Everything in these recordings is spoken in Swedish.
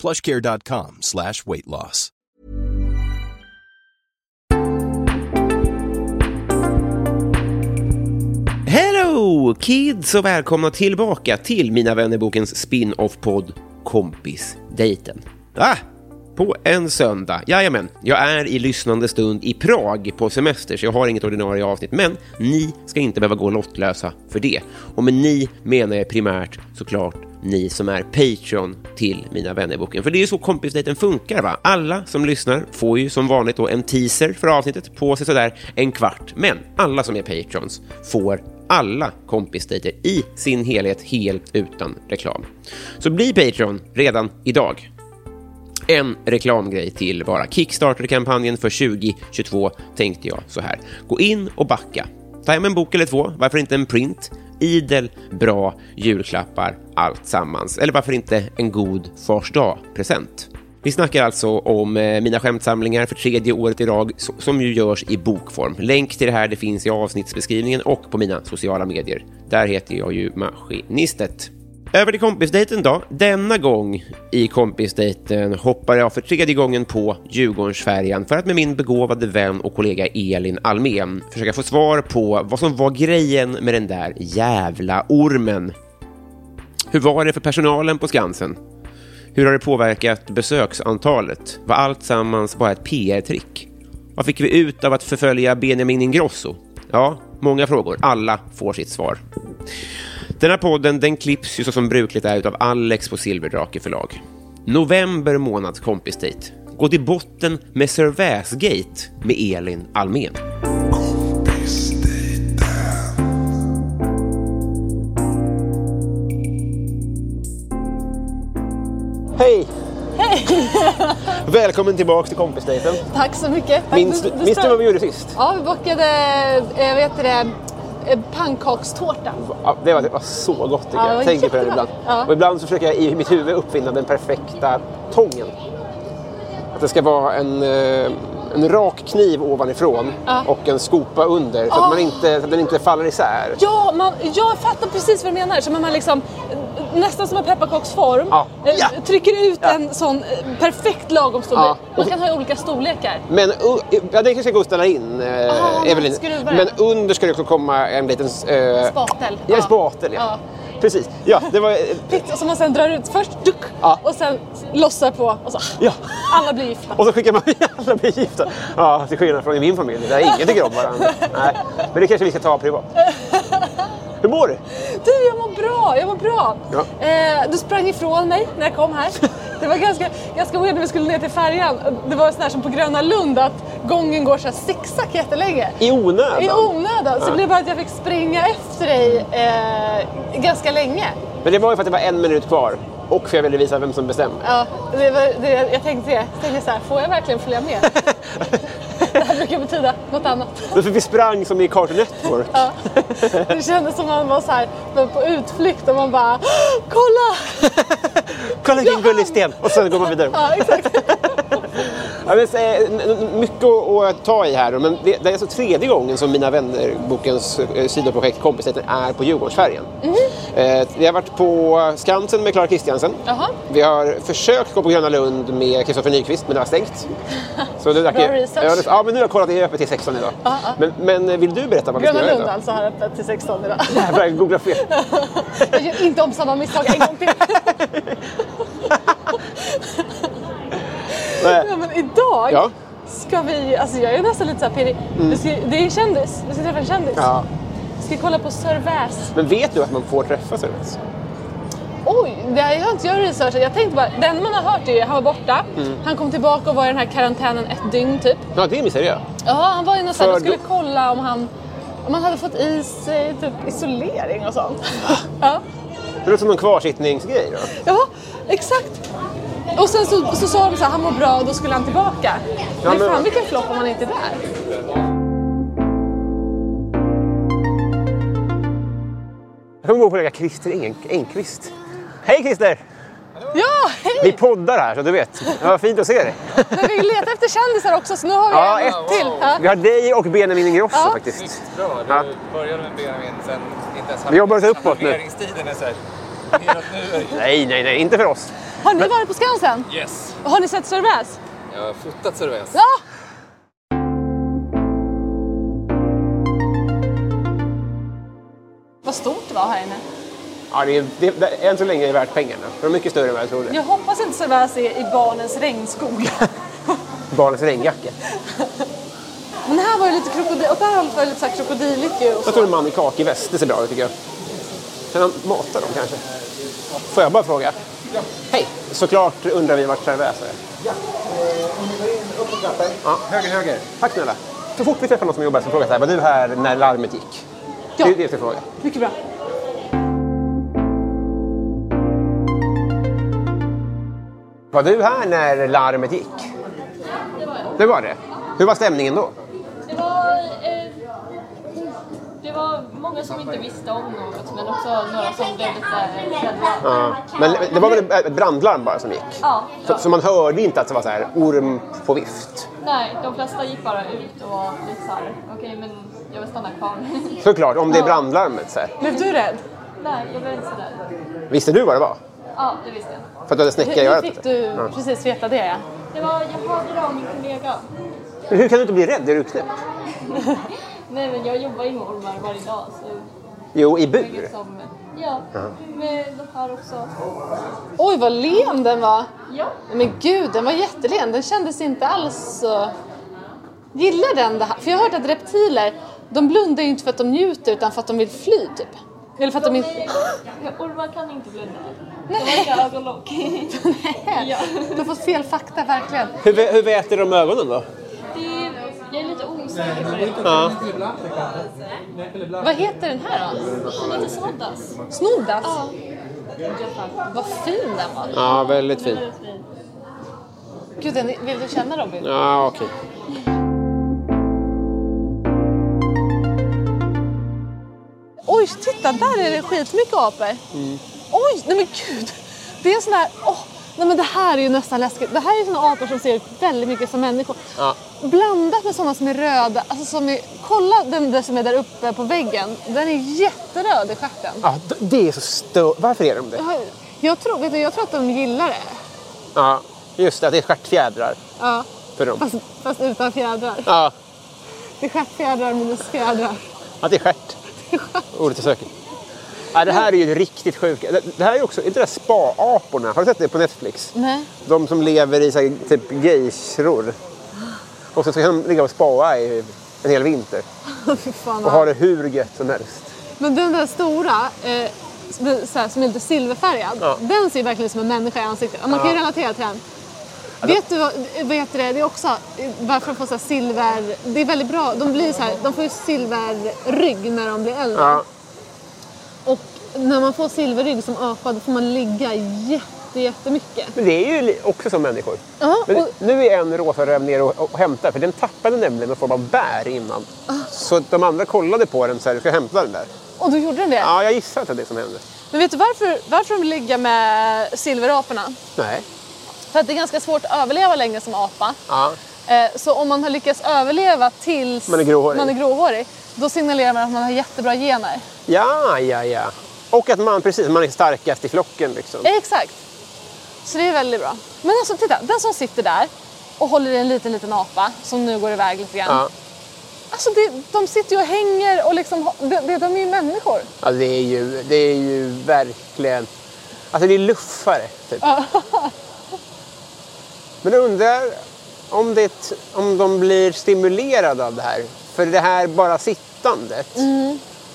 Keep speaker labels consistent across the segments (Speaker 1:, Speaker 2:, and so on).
Speaker 1: Plushcare.com slash weight loss.
Speaker 2: Hello kids och välkomna tillbaka till Mina vännerbokens spin-off-podd Kompisdejten. Ah, på en söndag. Jajamän, jag är i lyssnande stund i Prag på semester så jag har inget ordinarie avsnitt. Men ni ska inte behöva gå lottlösa för det. Och med ni menar jag primärt såklart ni som är Patreon till Mina vännerboken. För det är ju så kompisdejten funkar va? Alla som lyssnar får ju som vanligt då en teaser för avsnittet på sig sådär en kvart. Men alla som är Patrons får alla kompisdejter i sin helhet helt utan reklam. Så bli Patreon redan idag. En reklamgrej till bara. Kickstarter-kampanjen för 2022 tänkte jag så här. Gå in och backa. Ta hem en bok eller två, varför inte en print? Idel bra julklappar allt sammans. Eller varför inte en god Fars dag-present? Vi snackar alltså om eh, mina skämtsamlingar för tredje året i rad so- som ju görs i bokform. Länk till det här det finns i avsnittsbeskrivningen och på mina sociala medier. Där heter jag ju Maskinistet. Över till kompisdejten då. Denna gång i kompisdejten hoppar jag för tredje gången på Djurgårdsfärjan för att med min begåvade vän och kollega Elin Almén försöka få svar på vad som var grejen med den där jävla ormen. Hur var det för personalen på Skansen? Hur har det påverkat besöksantalet? Var allt sammans bara ett PR-trick? Vad fick vi ut av att förfölja Benjamin Ingrosso? Ja, många frågor. Alla får sitt svar. Den här podden den klipps ju så som brukligt är utav Alex på Silverdrake förlag. November månads kompisdejt. Gå till botten med Serväsgate med Elin Almén. Hej! Välkommen tillbaka till kompisdejten.
Speaker 3: Tack så mycket. Tack.
Speaker 2: Minns du,
Speaker 3: Det- det
Speaker 2: minns du
Speaker 3: står-
Speaker 2: vad vi gjorde sist?
Speaker 3: Ja, vi bakade, eh, vad heter det, eh, pannkakstårta.
Speaker 2: Ja, det, var, det var så gott tycker
Speaker 3: Ja, det
Speaker 2: jag.
Speaker 3: var
Speaker 2: Jag tänker på det
Speaker 3: jättebra.
Speaker 2: ibland.
Speaker 3: Ja.
Speaker 2: Och ibland så försöker jag i mitt huvud uppfinna den perfekta tången. Att det ska vara en, eh, en rak kniv ovanifrån
Speaker 3: Ja.
Speaker 2: och en skopa under så att,
Speaker 3: Åh.
Speaker 2: man inte, så att den inte faller isär.
Speaker 3: Ja, man, jag fattar precis vad du menar. Som att man liksom, eh, nästan som en pepparkaksform,
Speaker 2: Ja.
Speaker 3: eh,
Speaker 2: Ja.
Speaker 3: trycker ut en sån eh, perfekt lagom stor
Speaker 2: Ja.
Speaker 3: bit. Man kan ha i olika storlekar.
Speaker 2: Men u- ja, det kanske jag går och ställa in, eh,
Speaker 3: Ah,
Speaker 2: Evelyn.
Speaker 3: skruvar.
Speaker 2: Men under ska det också komma en liten... Eh,
Speaker 3: Spatel.
Speaker 2: Ja, en spatel ja.
Speaker 3: Ja.
Speaker 2: Precis. Ja, det var...
Speaker 3: Pitt, Som man sen drar ut först, duck,
Speaker 2: Ja.
Speaker 3: och sen lossar på och så.
Speaker 2: Ja.
Speaker 3: Alla blir gifta.
Speaker 2: Och så skickar man alla blir gifta. Ja, till skillnad från i min familj där ingen tycker om varandra. Nej, men det kanske vi ska ta privat. Hur mår du?
Speaker 3: Du, jag mår bra, jag mår bra.
Speaker 2: Ja.
Speaker 3: Eh, du sprang ifrån mig när jag kom här. Det var ganska, ganska weird när vi skulle ner till färjan. Det var sån här som på Gröna Lund, att gången går så här zigzag jättelänge.
Speaker 2: I onödan?
Speaker 3: I onödan. Så det blev bara att jag fick springa efter dig eh, ganska länge.
Speaker 2: Men det var ju för att det var en minut kvar och för jag ville visa vem som bestämmer.
Speaker 3: Ja, det var, det, jag tänkte det. Jag tänkte så här, får jag verkligen följa med? det här brukar betyda något annat.
Speaker 2: Men För vi sprang som i Cartoon Network.
Speaker 3: Ja. Det kändes som man var så här, men på utflykt och man bara, kolla!
Speaker 2: Kolla vilken gullig sten! Och sen går man vidare.
Speaker 3: Ja, exakt.
Speaker 2: Ja, men, eh, n- n- mycket att att ta i här då, men det, det är alltså tredje gången som Mina vänner-bokens eh, sidoprojekt Kompisdejten är på Djurgårdsfärjan.
Speaker 3: Mhm.
Speaker 2: Eh, vi har varit på Skansen med Clara Kristiansen.
Speaker 3: Jaha.
Speaker 2: Vi har försökt gå på Gröna Lund med Kristoffer Nyqvist, men det har stängt. Så nu drack
Speaker 3: Bra
Speaker 2: jag-
Speaker 3: research.
Speaker 2: Ja, det- Ja, men nu har jag kollat, det är öppet till 16 idag.
Speaker 3: Ja, ja.
Speaker 2: Men, men eh, vill du berätta vad vi ska
Speaker 3: Gröna
Speaker 2: göra
Speaker 3: Lund
Speaker 2: idag?
Speaker 3: alltså har öppet till 16 idag.
Speaker 2: Jag börjar googla fel.
Speaker 3: Jag gör inte om samma misstag en gång till.
Speaker 2: Nej.
Speaker 3: Ja, men idag
Speaker 2: Ja. Mm.
Speaker 3: Ska vi... Alltså jag är nästan lite såhär pirrig. Vi ska- Det är en kändis. Vi ska träffa en kändis.
Speaker 2: Ja.
Speaker 3: Vi ska kolla på Sir Väs.
Speaker 2: Men vet du att man får träffa service?
Speaker 3: Oj, det här, jag har inte gjort research. Jag tänkte bara, den man har hört är han var borta.
Speaker 2: Mm.
Speaker 3: Han kom tillbaka och var i den här karantänen ett dygn typ.
Speaker 2: Ja, det missade jag.
Speaker 3: Ja, han var ju någon sån
Speaker 2: För
Speaker 3: de skulle
Speaker 2: då-
Speaker 3: kolla om han, om han hade fått i sig typ isolering och sånt. ja.
Speaker 2: Det låter som någon kvarsittningsgrej då.
Speaker 3: ja, exakt. Och sen så, så sa de så här, han mår bra och då skulle han tillbaka. men,
Speaker 2: men-
Speaker 3: fan vilken flopp om han inte är där.
Speaker 2: Jag kommer ihåg kollega Christer Eng- Engqvist. Hej Christer!
Speaker 3: Ja,
Speaker 2: Vi
Speaker 3: hej!
Speaker 2: poddar här så du vet. Vad fint att se dig.
Speaker 3: Men vi letar efter kändisar också så nu har vi
Speaker 2: Ja,
Speaker 3: en
Speaker 2: ett.
Speaker 3: till. Ja.
Speaker 2: Vi har dig och Benjamin Ingrosso
Speaker 3: Ja.
Speaker 2: faktiskt.
Speaker 4: Bra, du
Speaker 2: Ja.
Speaker 4: började med Benjamin, sen inte ens
Speaker 2: Vi jobbar oss uppåt nu.
Speaker 4: Halveringstiden är så här. Neråt nu är det-
Speaker 2: Nej, nej, nej, inte för oss.
Speaker 3: Har ni varit på Skansen?
Speaker 4: Yes!
Speaker 3: Och Har ni sett Sörväs?
Speaker 4: Jag har fotat Cervez.
Speaker 3: Ja! Vad stort det var här inne.
Speaker 2: Ja, det är, det, det, än så länge är det värt pengarna. De är mycket större än vad jag trodde.
Speaker 3: Jag hoppas inte Sörväs är i barnens regnskog.
Speaker 2: Barnens regnjacka.
Speaker 3: Men här var ju lite krokodil... Åt det här hållet var det lite så här krokodiligt ju. och så.
Speaker 2: Jag tror en man i kakig väst, det ser bra ut tycker jag. Kan han mata dem kanske? Får jag bara fråga? Hej! Såklart undrar vi vart Cervez är. Eh, Ja, höger, höger. Tack snälla. Så fort vi träffar någon som jobbar så frågar jag så här, var du här när larmet gick?
Speaker 3: Ja.
Speaker 2: Det är det jag ska fråga.
Speaker 3: Mycket bra.
Speaker 2: Var du här när larmet gick? Det var det? Hur var stämningen då?
Speaker 5: Det var, eh, det var många som inte visste om något men också några som blev lite rädda.
Speaker 2: Ja. Men det var väl ett brandlarm bara som gick?
Speaker 5: Ja,
Speaker 2: Så, så man hörde inte att det var så här orm på vift?
Speaker 5: Nej, de flesta gick bara ut och var lite såhär, okej men jag vill stanna kvar.
Speaker 2: Såklart, om det är brandlarmet. Så här.
Speaker 3: Blev du rädd?
Speaker 5: Nej, jag blev inte sådär.
Speaker 2: Visste du vad det var?
Speaker 5: Ja, det visste jag.
Speaker 2: För att du hade snäcka i
Speaker 3: Hur
Speaker 2: örat?
Speaker 3: fick du precis veta det? Ja.
Speaker 5: Det var, jag hörde det av min kollega.
Speaker 2: Men hur kan du inte bli rädd? Är du knäpp?
Speaker 5: Nej men jag jobbar ju med ormar varje dag så
Speaker 2: Jo, i bur.
Speaker 5: mycket som, ja, med de här också.
Speaker 3: Oj, vad len den var!
Speaker 5: Ja,
Speaker 3: Men gud, den var jättelen. Den kändes inte alls... så- Gillar den det här? För jag har hört att reptiler, de blundar ju inte för att de njuter utan för att de vill fly typ. Eller för att de
Speaker 5: de
Speaker 3: inte...
Speaker 5: är, ormar kan inte blunda. De har inga ögonlock. Ja.
Speaker 3: De har fått fel fakta verkligen.
Speaker 2: Hur, hur väter de ögonen då?
Speaker 5: Det är, jag är lite osäker på det.
Speaker 2: Ja.
Speaker 3: Vad heter den här då?
Speaker 5: Han heter Snoddas.
Speaker 3: Snoddas?
Speaker 5: Ja.
Speaker 3: Vad fin den var.
Speaker 2: ja, väldigt fint.
Speaker 3: Gud, den, är- vill du känna Robin?
Speaker 2: Ja, okej.
Speaker 3: Oj, titta där är det skitmycket apor.
Speaker 2: Mm.
Speaker 3: Oj, nej men gud. Det är en sån här, åh, nej men det här är ju nästan läskigt. Det här är såna apor som ser ut väldigt mycket som människor.
Speaker 2: Ja.
Speaker 3: Blandat med såna som är röda, alltså som är, kolla den där som är där uppe på väggen. Den är jätteröd i stjärten.
Speaker 2: Ja, d- det är så stö... Varför är de det?
Speaker 3: Jag, jag, tror, vet du, jag tror att de gillar det.
Speaker 2: Ja, just det. Att det är stjärtfjädrar
Speaker 3: Ja.
Speaker 2: för dem.
Speaker 3: Fast, fast utan fjädrar.
Speaker 2: Ja,
Speaker 3: Det är stjärtfjädrar minus fjädrar.
Speaker 2: att det är stjärt. Ordet jag söker. Ja, det här är ju riktigt sjukt. Det- Det här är också... Är inte det där spa-aporna? Har du sett det på Netflix?
Speaker 3: Nej.
Speaker 2: De som lever i så här, typ geishror. Och så kan de ligga och spa i en hel vinter.
Speaker 3: Fy fan,
Speaker 2: Och ha det hur gött som helst.
Speaker 3: Men den där stora, eh, som, är så här, som är lite silverfärgad,
Speaker 2: Ja.
Speaker 3: den ser ju verkligen ut som en människa i ansiktet. Man kan ju relatera till den. Vet du vad, vad heter det, det är också eh, varför de får så här silver, det är väldigt bra, de blir så här, de får ju silverrygg när de blir äldre.
Speaker 2: Ja.
Speaker 3: Och när man får silverrygg som apa då får man ligga jätte, jättemycket.
Speaker 2: Men det är ju li- också som människor.
Speaker 3: Ja,
Speaker 2: Men
Speaker 3: och-
Speaker 2: nu är en rosa räv nere och, och hämtar, för den tappade nämligen någon form av bär innan.
Speaker 3: Ah.
Speaker 2: Så de andra kollade på den så här, du ska hämta den där.
Speaker 3: Och då gjorde den det.
Speaker 2: Ja, jag gissar att det är det som hände.
Speaker 3: Men vet du varför, varför de vill ligga med silveraporna?
Speaker 2: Nej.
Speaker 3: För att det är ganska svårt att överleva länge som apa.
Speaker 2: Ja.
Speaker 3: Eh, Så om man har lyckats överleva tills
Speaker 2: Man är gråhårig.
Speaker 3: man är gråhårig, då signalerar man att man har jättebra gener.
Speaker 2: ja, ja, ja. Och att man precis, man är starkast i flocken liksom.
Speaker 3: Eh, Exakt. Så det är väldigt bra. Men alltså titta, den som sitter där och håller i en liten, liten apa som nu går iväg lite grann.
Speaker 2: Ja.
Speaker 3: Alltså det, de sitter ju och hänger och liksom, ha- de, de, de är ju människor.
Speaker 2: ja, det är ju, det är ju verkligen... Alltså det är luffare, typ. Men jag undrar om, det, är ett- om de blir stimulerade av det här. För det här bara sittandet.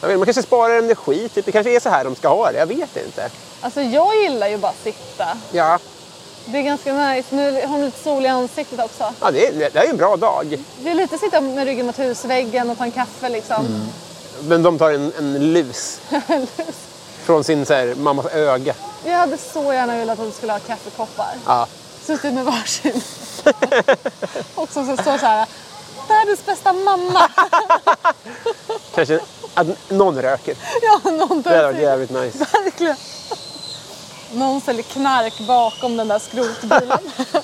Speaker 2: Jag vet, man kanske sparar energi. Typ. Det kanske är så här de ska ha det. Jag vet inte.
Speaker 3: Alltså jag gillar ju bara att sitta.
Speaker 2: Ja,
Speaker 3: Det är ganska nice. Nu har de lite sol i ansiktet också.
Speaker 2: ja det, är, det här är en bra dag.
Speaker 3: Det är lite att sitta med ryggen mot husväggen och ta en kaffe liksom.
Speaker 2: Men de tar en, en lus från sin så här, mammas öga.
Speaker 3: Jag hade så gärna velat att du skulle ha kaffekoppar.
Speaker 2: Ja.
Speaker 3: Suttit med varsin. och så så står så här. Världens bästa mamma.
Speaker 2: Kanske att någon röker.
Speaker 3: ja, någon
Speaker 2: Det hade varit
Speaker 3: börjar
Speaker 2: jävligt nice.
Speaker 3: Verkligen. Någon säljer knark bakom den där skrotbilen.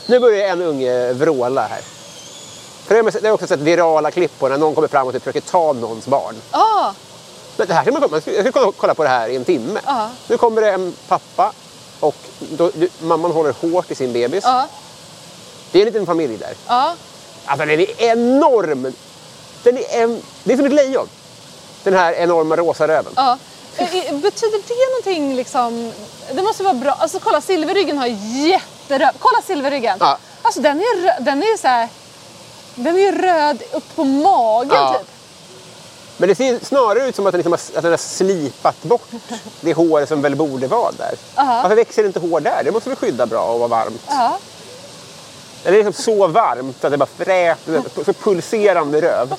Speaker 2: Nu börjar en unge vråla här. För det har man sett- det har jag också sett virala klipp på när någon kommer fram och typ försöker ta någons barn.
Speaker 3: ah,
Speaker 2: Men det här ska man, kolla- man ska, jag ska kolla- kolla på det här i en timme.
Speaker 3: Ja.
Speaker 2: Nu kommer det en pappa och då, du, mamman håller hårt i sin bebis.
Speaker 3: ja,
Speaker 2: Det är en liten familj där.
Speaker 3: ja.
Speaker 2: Alltså den är enorm! Den är, en, det är som ett lejon. Den här enorma rosa röven.
Speaker 3: Ja. Eh, eh, Betyder det någonting liksom... Det måste vara bra. Alltså kolla silverryggen har jätteröd... Kolla silverryggen!
Speaker 2: Ja.
Speaker 3: Alltså den är röd, den är så här... Den är röd upp på magen
Speaker 2: Ja.
Speaker 3: typ.
Speaker 2: Men det ser snarare ut som att den, liksom har, att den har slipat bort det hår som väl borde vara där.
Speaker 3: Aha.
Speaker 2: Varför växer det inte hår där? Det måste väl skydda bra och vara varmt?
Speaker 3: Ja.
Speaker 2: Eller det är liksom så varmt att det bara fräser, så pulserande röv.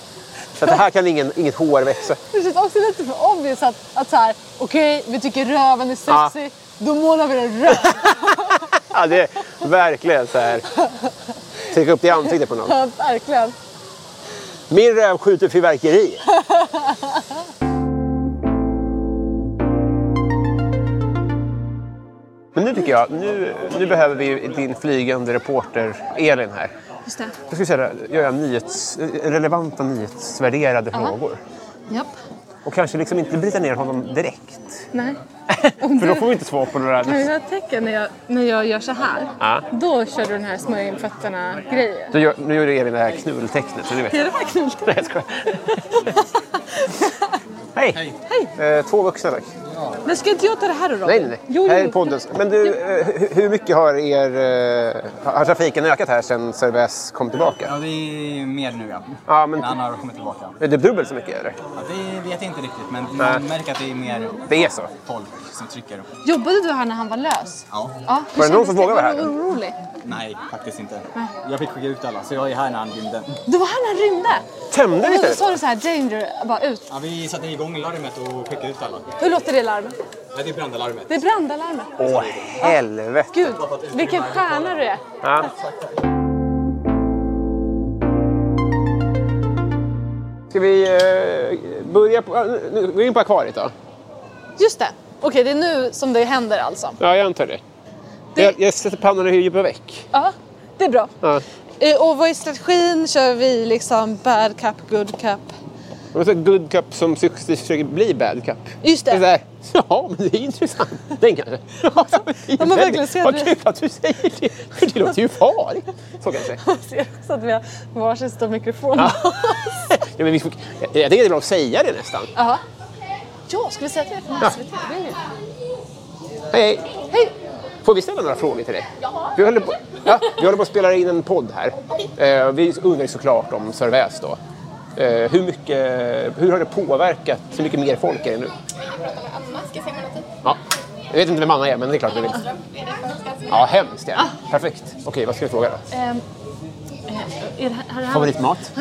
Speaker 2: Så att det här kan ingen, inget hår växa.
Speaker 3: Det känns också lite för obvious att, att så här, okej vi tycker röven är sexig, då målar vi den röd.
Speaker 2: Ja, det är verkligen så här. Trycka upp det i ansiktet på någon.
Speaker 3: Ja, Verkligen.
Speaker 2: Min röv skjuter fyrverkeri. Men nu tycker jag, nu, nu behöver vi ju din flygande reporter Elin här.
Speaker 3: Just det.
Speaker 2: Nu ska vi säga, göra nyhets, relevanta nyhetsvärderade frågor.
Speaker 3: Japp.
Speaker 2: Och kanske liksom inte bryta ner honom direkt.
Speaker 3: Nej.
Speaker 2: För då får vi inte svar på några...
Speaker 3: Kan jag täcka när jag, när jag gör så här?
Speaker 2: Ja.
Speaker 3: Då kör du den här smörja in fötterna-grejen.
Speaker 2: Då gör- Nu gjorde Elin det här knulltecknet. Så ni vet.
Speaker 3: Är det här knullt?
Speaker 2: Nej, jag skojar. Hej! Eh, två vuxna tack.
Speaker 3: Men ska inte jag ta det här då Robin?
Speaker 2: Nej, nej, nej.
Speaker 3: Jo,
Speaker 2: här
Speaker 3: jo.
Speaker 2: är poddens. Men du, eh, hu- hur mycket har, er, eh, har trafiken ökat här sedan Cervais kom
Speaker 6: Ja,
Speaker 2: tillbaka?
Speaker 6: det är mer nu ja.
Speaker 2: Ja, men-
Speaker 6: han har kommit tillbaka.
Speaker 2: Är det dubbelt så mycket eller?
Speaker 6: Ja, det vet jag inte riktigt, men
Speaker 2: Nej.
Speaker 6: man märker att det är mer
Speaker 2: Det är så.
Speaker 6: folk som trycker.
Speaker 3: Jobbade du här när han var lös?
Speaker 6: Ja.
Speaker 3: Ja, hur
Speaker 2: Var det någon
Speaker 3: kändes
Speaker 2: som vågade vara här?
Speaker 3: Var du orolig?
Speaker 6: Nej, faktiskt inte. Jag fick skicka ut alla, så jag är här när han rymde.
Speaker 3: Du var här när han rymde?
Speaker 2: Tömde ni
Speaker 3: Och då
Speaker 2: istället?
Speaker 3: sa du så här, danger, bara ut.
Speaker 6: Ja, vi satte igång larmet och skickade ut alla.
Speaker 3: Hur låter det larmet?
Speaker 6: Nej, det är brandalarmet.
Speaker 3: Det är brandalarmet.
Speaker 2: Åh, helvete.
Speaker 3: Gud, vilken stjärna du är.
Speaker 2: Ja. Ska vi eh, börja på... ja, Nu går vi in på akvariet då.
Speaker 3: Just det. Okej, det är nu som det händer alltså.
Speaker 2: Ja, jag antar det.
Speaker 3: Det-
Speaker 2: Jag, jag sätter pannan i huvudet på väck.
Speaker 3: Ja, det är bra.
Speaker 2: Ja.
Speaker 3: Eh, Och vad är strategin? Kör vi liksom bad cup, good cup?
Speaker 2: Det var så good cup som successivt försöker bli bad cup.
Speaker 3: Just det.
Speaker 2: är så här, ja, men det är intressant. Den kanske. Ja, det är
Speaker 3: Ja, men verkligen,
Speaker 2: väldigt-
Speaker 3: ser
Speaker 2: Vad
Speaker 3: du?
Speaker 2: kul att du säger det. För det låter ju farligt. Så kanske.
Speaker 3: Jag ser också att vi har varsin stor mikrofon. Ja.
Speaker 2: Ja, men vi får, jag, jag tänker att det är bra att säga det nästan.
Speaker 3: Ja, ska vi säga att vi är från SVT? Det är ju-
Speaker 2: Hej, hej.
Speaker 3: Hej!
Speaker 2: Får vi ställa några frågor till dig? Vi håller på, ja, vi håller på att spela in en podd här. Eh, vi undrar ju såklart om Cervais då. Eh, hur, mycket, hur har det påverkat? Hur mycket mer folk är det nu? Ja. Jag vet inte vem Anna är, men det är klart. Det är ja, hemskt ja.
Speaker 3: Ah.
Speaker 2: Perfekt. Okej, vad ska vi fråga då?
Speaker 3: Ehm, eh, Är det här, här,
Speaker 2: Favoritmat?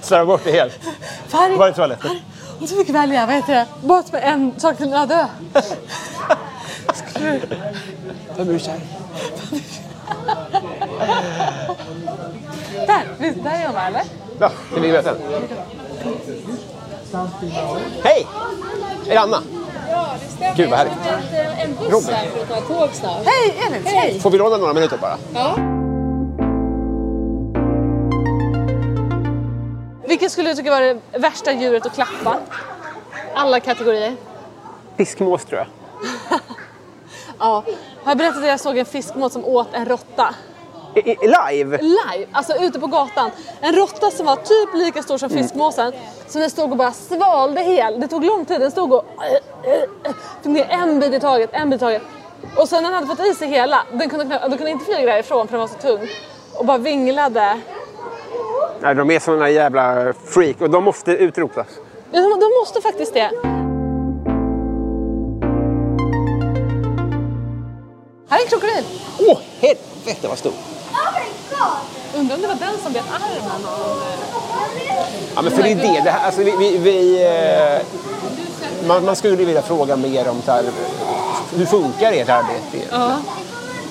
Speaker 2: Slarva bort det helt.
Speaker 3: Färg.
Speaker 2: Var är toaletten?
Speaker 3: Färg. Om du fick välja, vad heter det? Båt med en sak till en öde ö.
Speaker 2: Vem är du kär
Speaker 3: Där, visst, där är de va, eller?
Speaker 2: Ja, det vill vi veta. Hej! Är det Anna? Gud, vad härligt.
Speaker 5: eh, En buss
Speaker 2: Robin.
Speaker 5: här för att ta tåg snart.
Speaker 3: Hej Elin! Hej!
Speaker 2: Får vi låna några minuter bara?
Speaker 3: Vilket skulle du tycka var det värsta djuret att klappa? Alla kategorier.
Speaker 2: Fiskmås tror jag.
Speaker 3: Ja. Har jag berättat att jag såg en fiskmås som åt en råtta?
Speaker 2: I, i, live?
Speaker 3: Live! Alltså ute på gatan. En råtta som var typ lika stor som fiskmåsen. Som den stod och bara eh, svalde hel. Det tog lång tid. Den stod och... Tog ner en bit i taget, en bit i taget. Och sen när den hade fått i sig hela, den kunde, knappt- den kunde inte flyga därifrån för den var så tung. Och bara vinglade.
Speaker 2: Nej, de är såna jävla freak och de måste utrotas.
Speaker 3: Ja, De, de måste faktiskt det. Här är en krokodil.
Speaker 2: Åh, helvete vad stor!
Speaker 3: Undrar om det var den som bet armen. eh,
Speaker 2: Ja, men för det är det. det här, alltså, vi, vi, vi, eh, man, man skulle vilja fråga mer om så här, hur funkar ert arbete egentligen?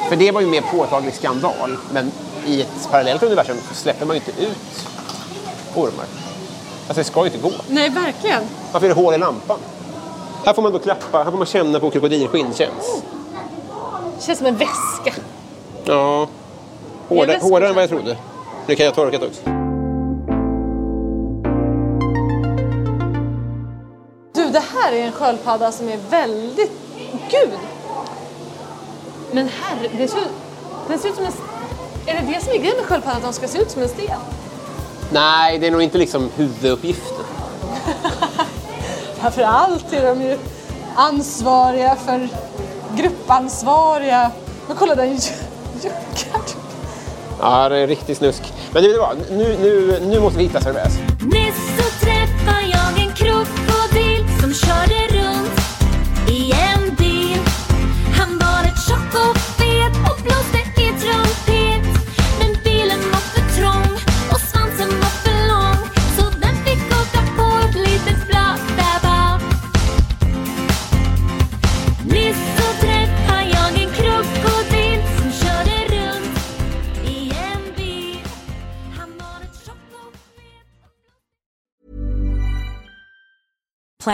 Speaker 2: För det var ju en mer påtaglig skandal. Men i ett parallellt universum så släpper man ju inte ut ormar. Alltså det ska ju inte gå.
Speaker 3: Nej, verkligen.
Speaker 2: Varför är det hål i lampan? Här får man då klappa, här får man känna på hur krokodilskinn känns.
Speaker 3: Känns som en väska.
Speaker 2: Ja,
Speaker 3: Det är
Speaker 2: hårdare,
Speaker 3: väskan.
Speaker 2: hårdare än vad jag trodde. Nu kan jag ha torkat också.
Speaker 3: Du, det här är en sköldpadda som är väldigt... Gud! Men herre, det ser, den ser ut som en... Är det det som är grejen med sköldpaddan, att de ska se ut som en sten?
Speaker 2: Nej, det är nog inte liksom huvuduppgiften.
Speaker 3: Framför allt är de ju ansvariga för gruppansvariga. Men kolla, den ju- juckar typ.
Speaker 2: Ja, det är riktigt snusk. Men det är bra. Nu, nu, nu måste vi hitta Cervez.
Speaker 7: Nyss så träffade jag en krokodil som körde runt i en bil. Han var rätt tjock och fet och blåste i trumpet. Men bilen var för trång och svansen var för lång så den fick åka på ett litet flak där bak. Nyss så träffade jag en krokodil som körde runt i en bil. Han var rätt tjock och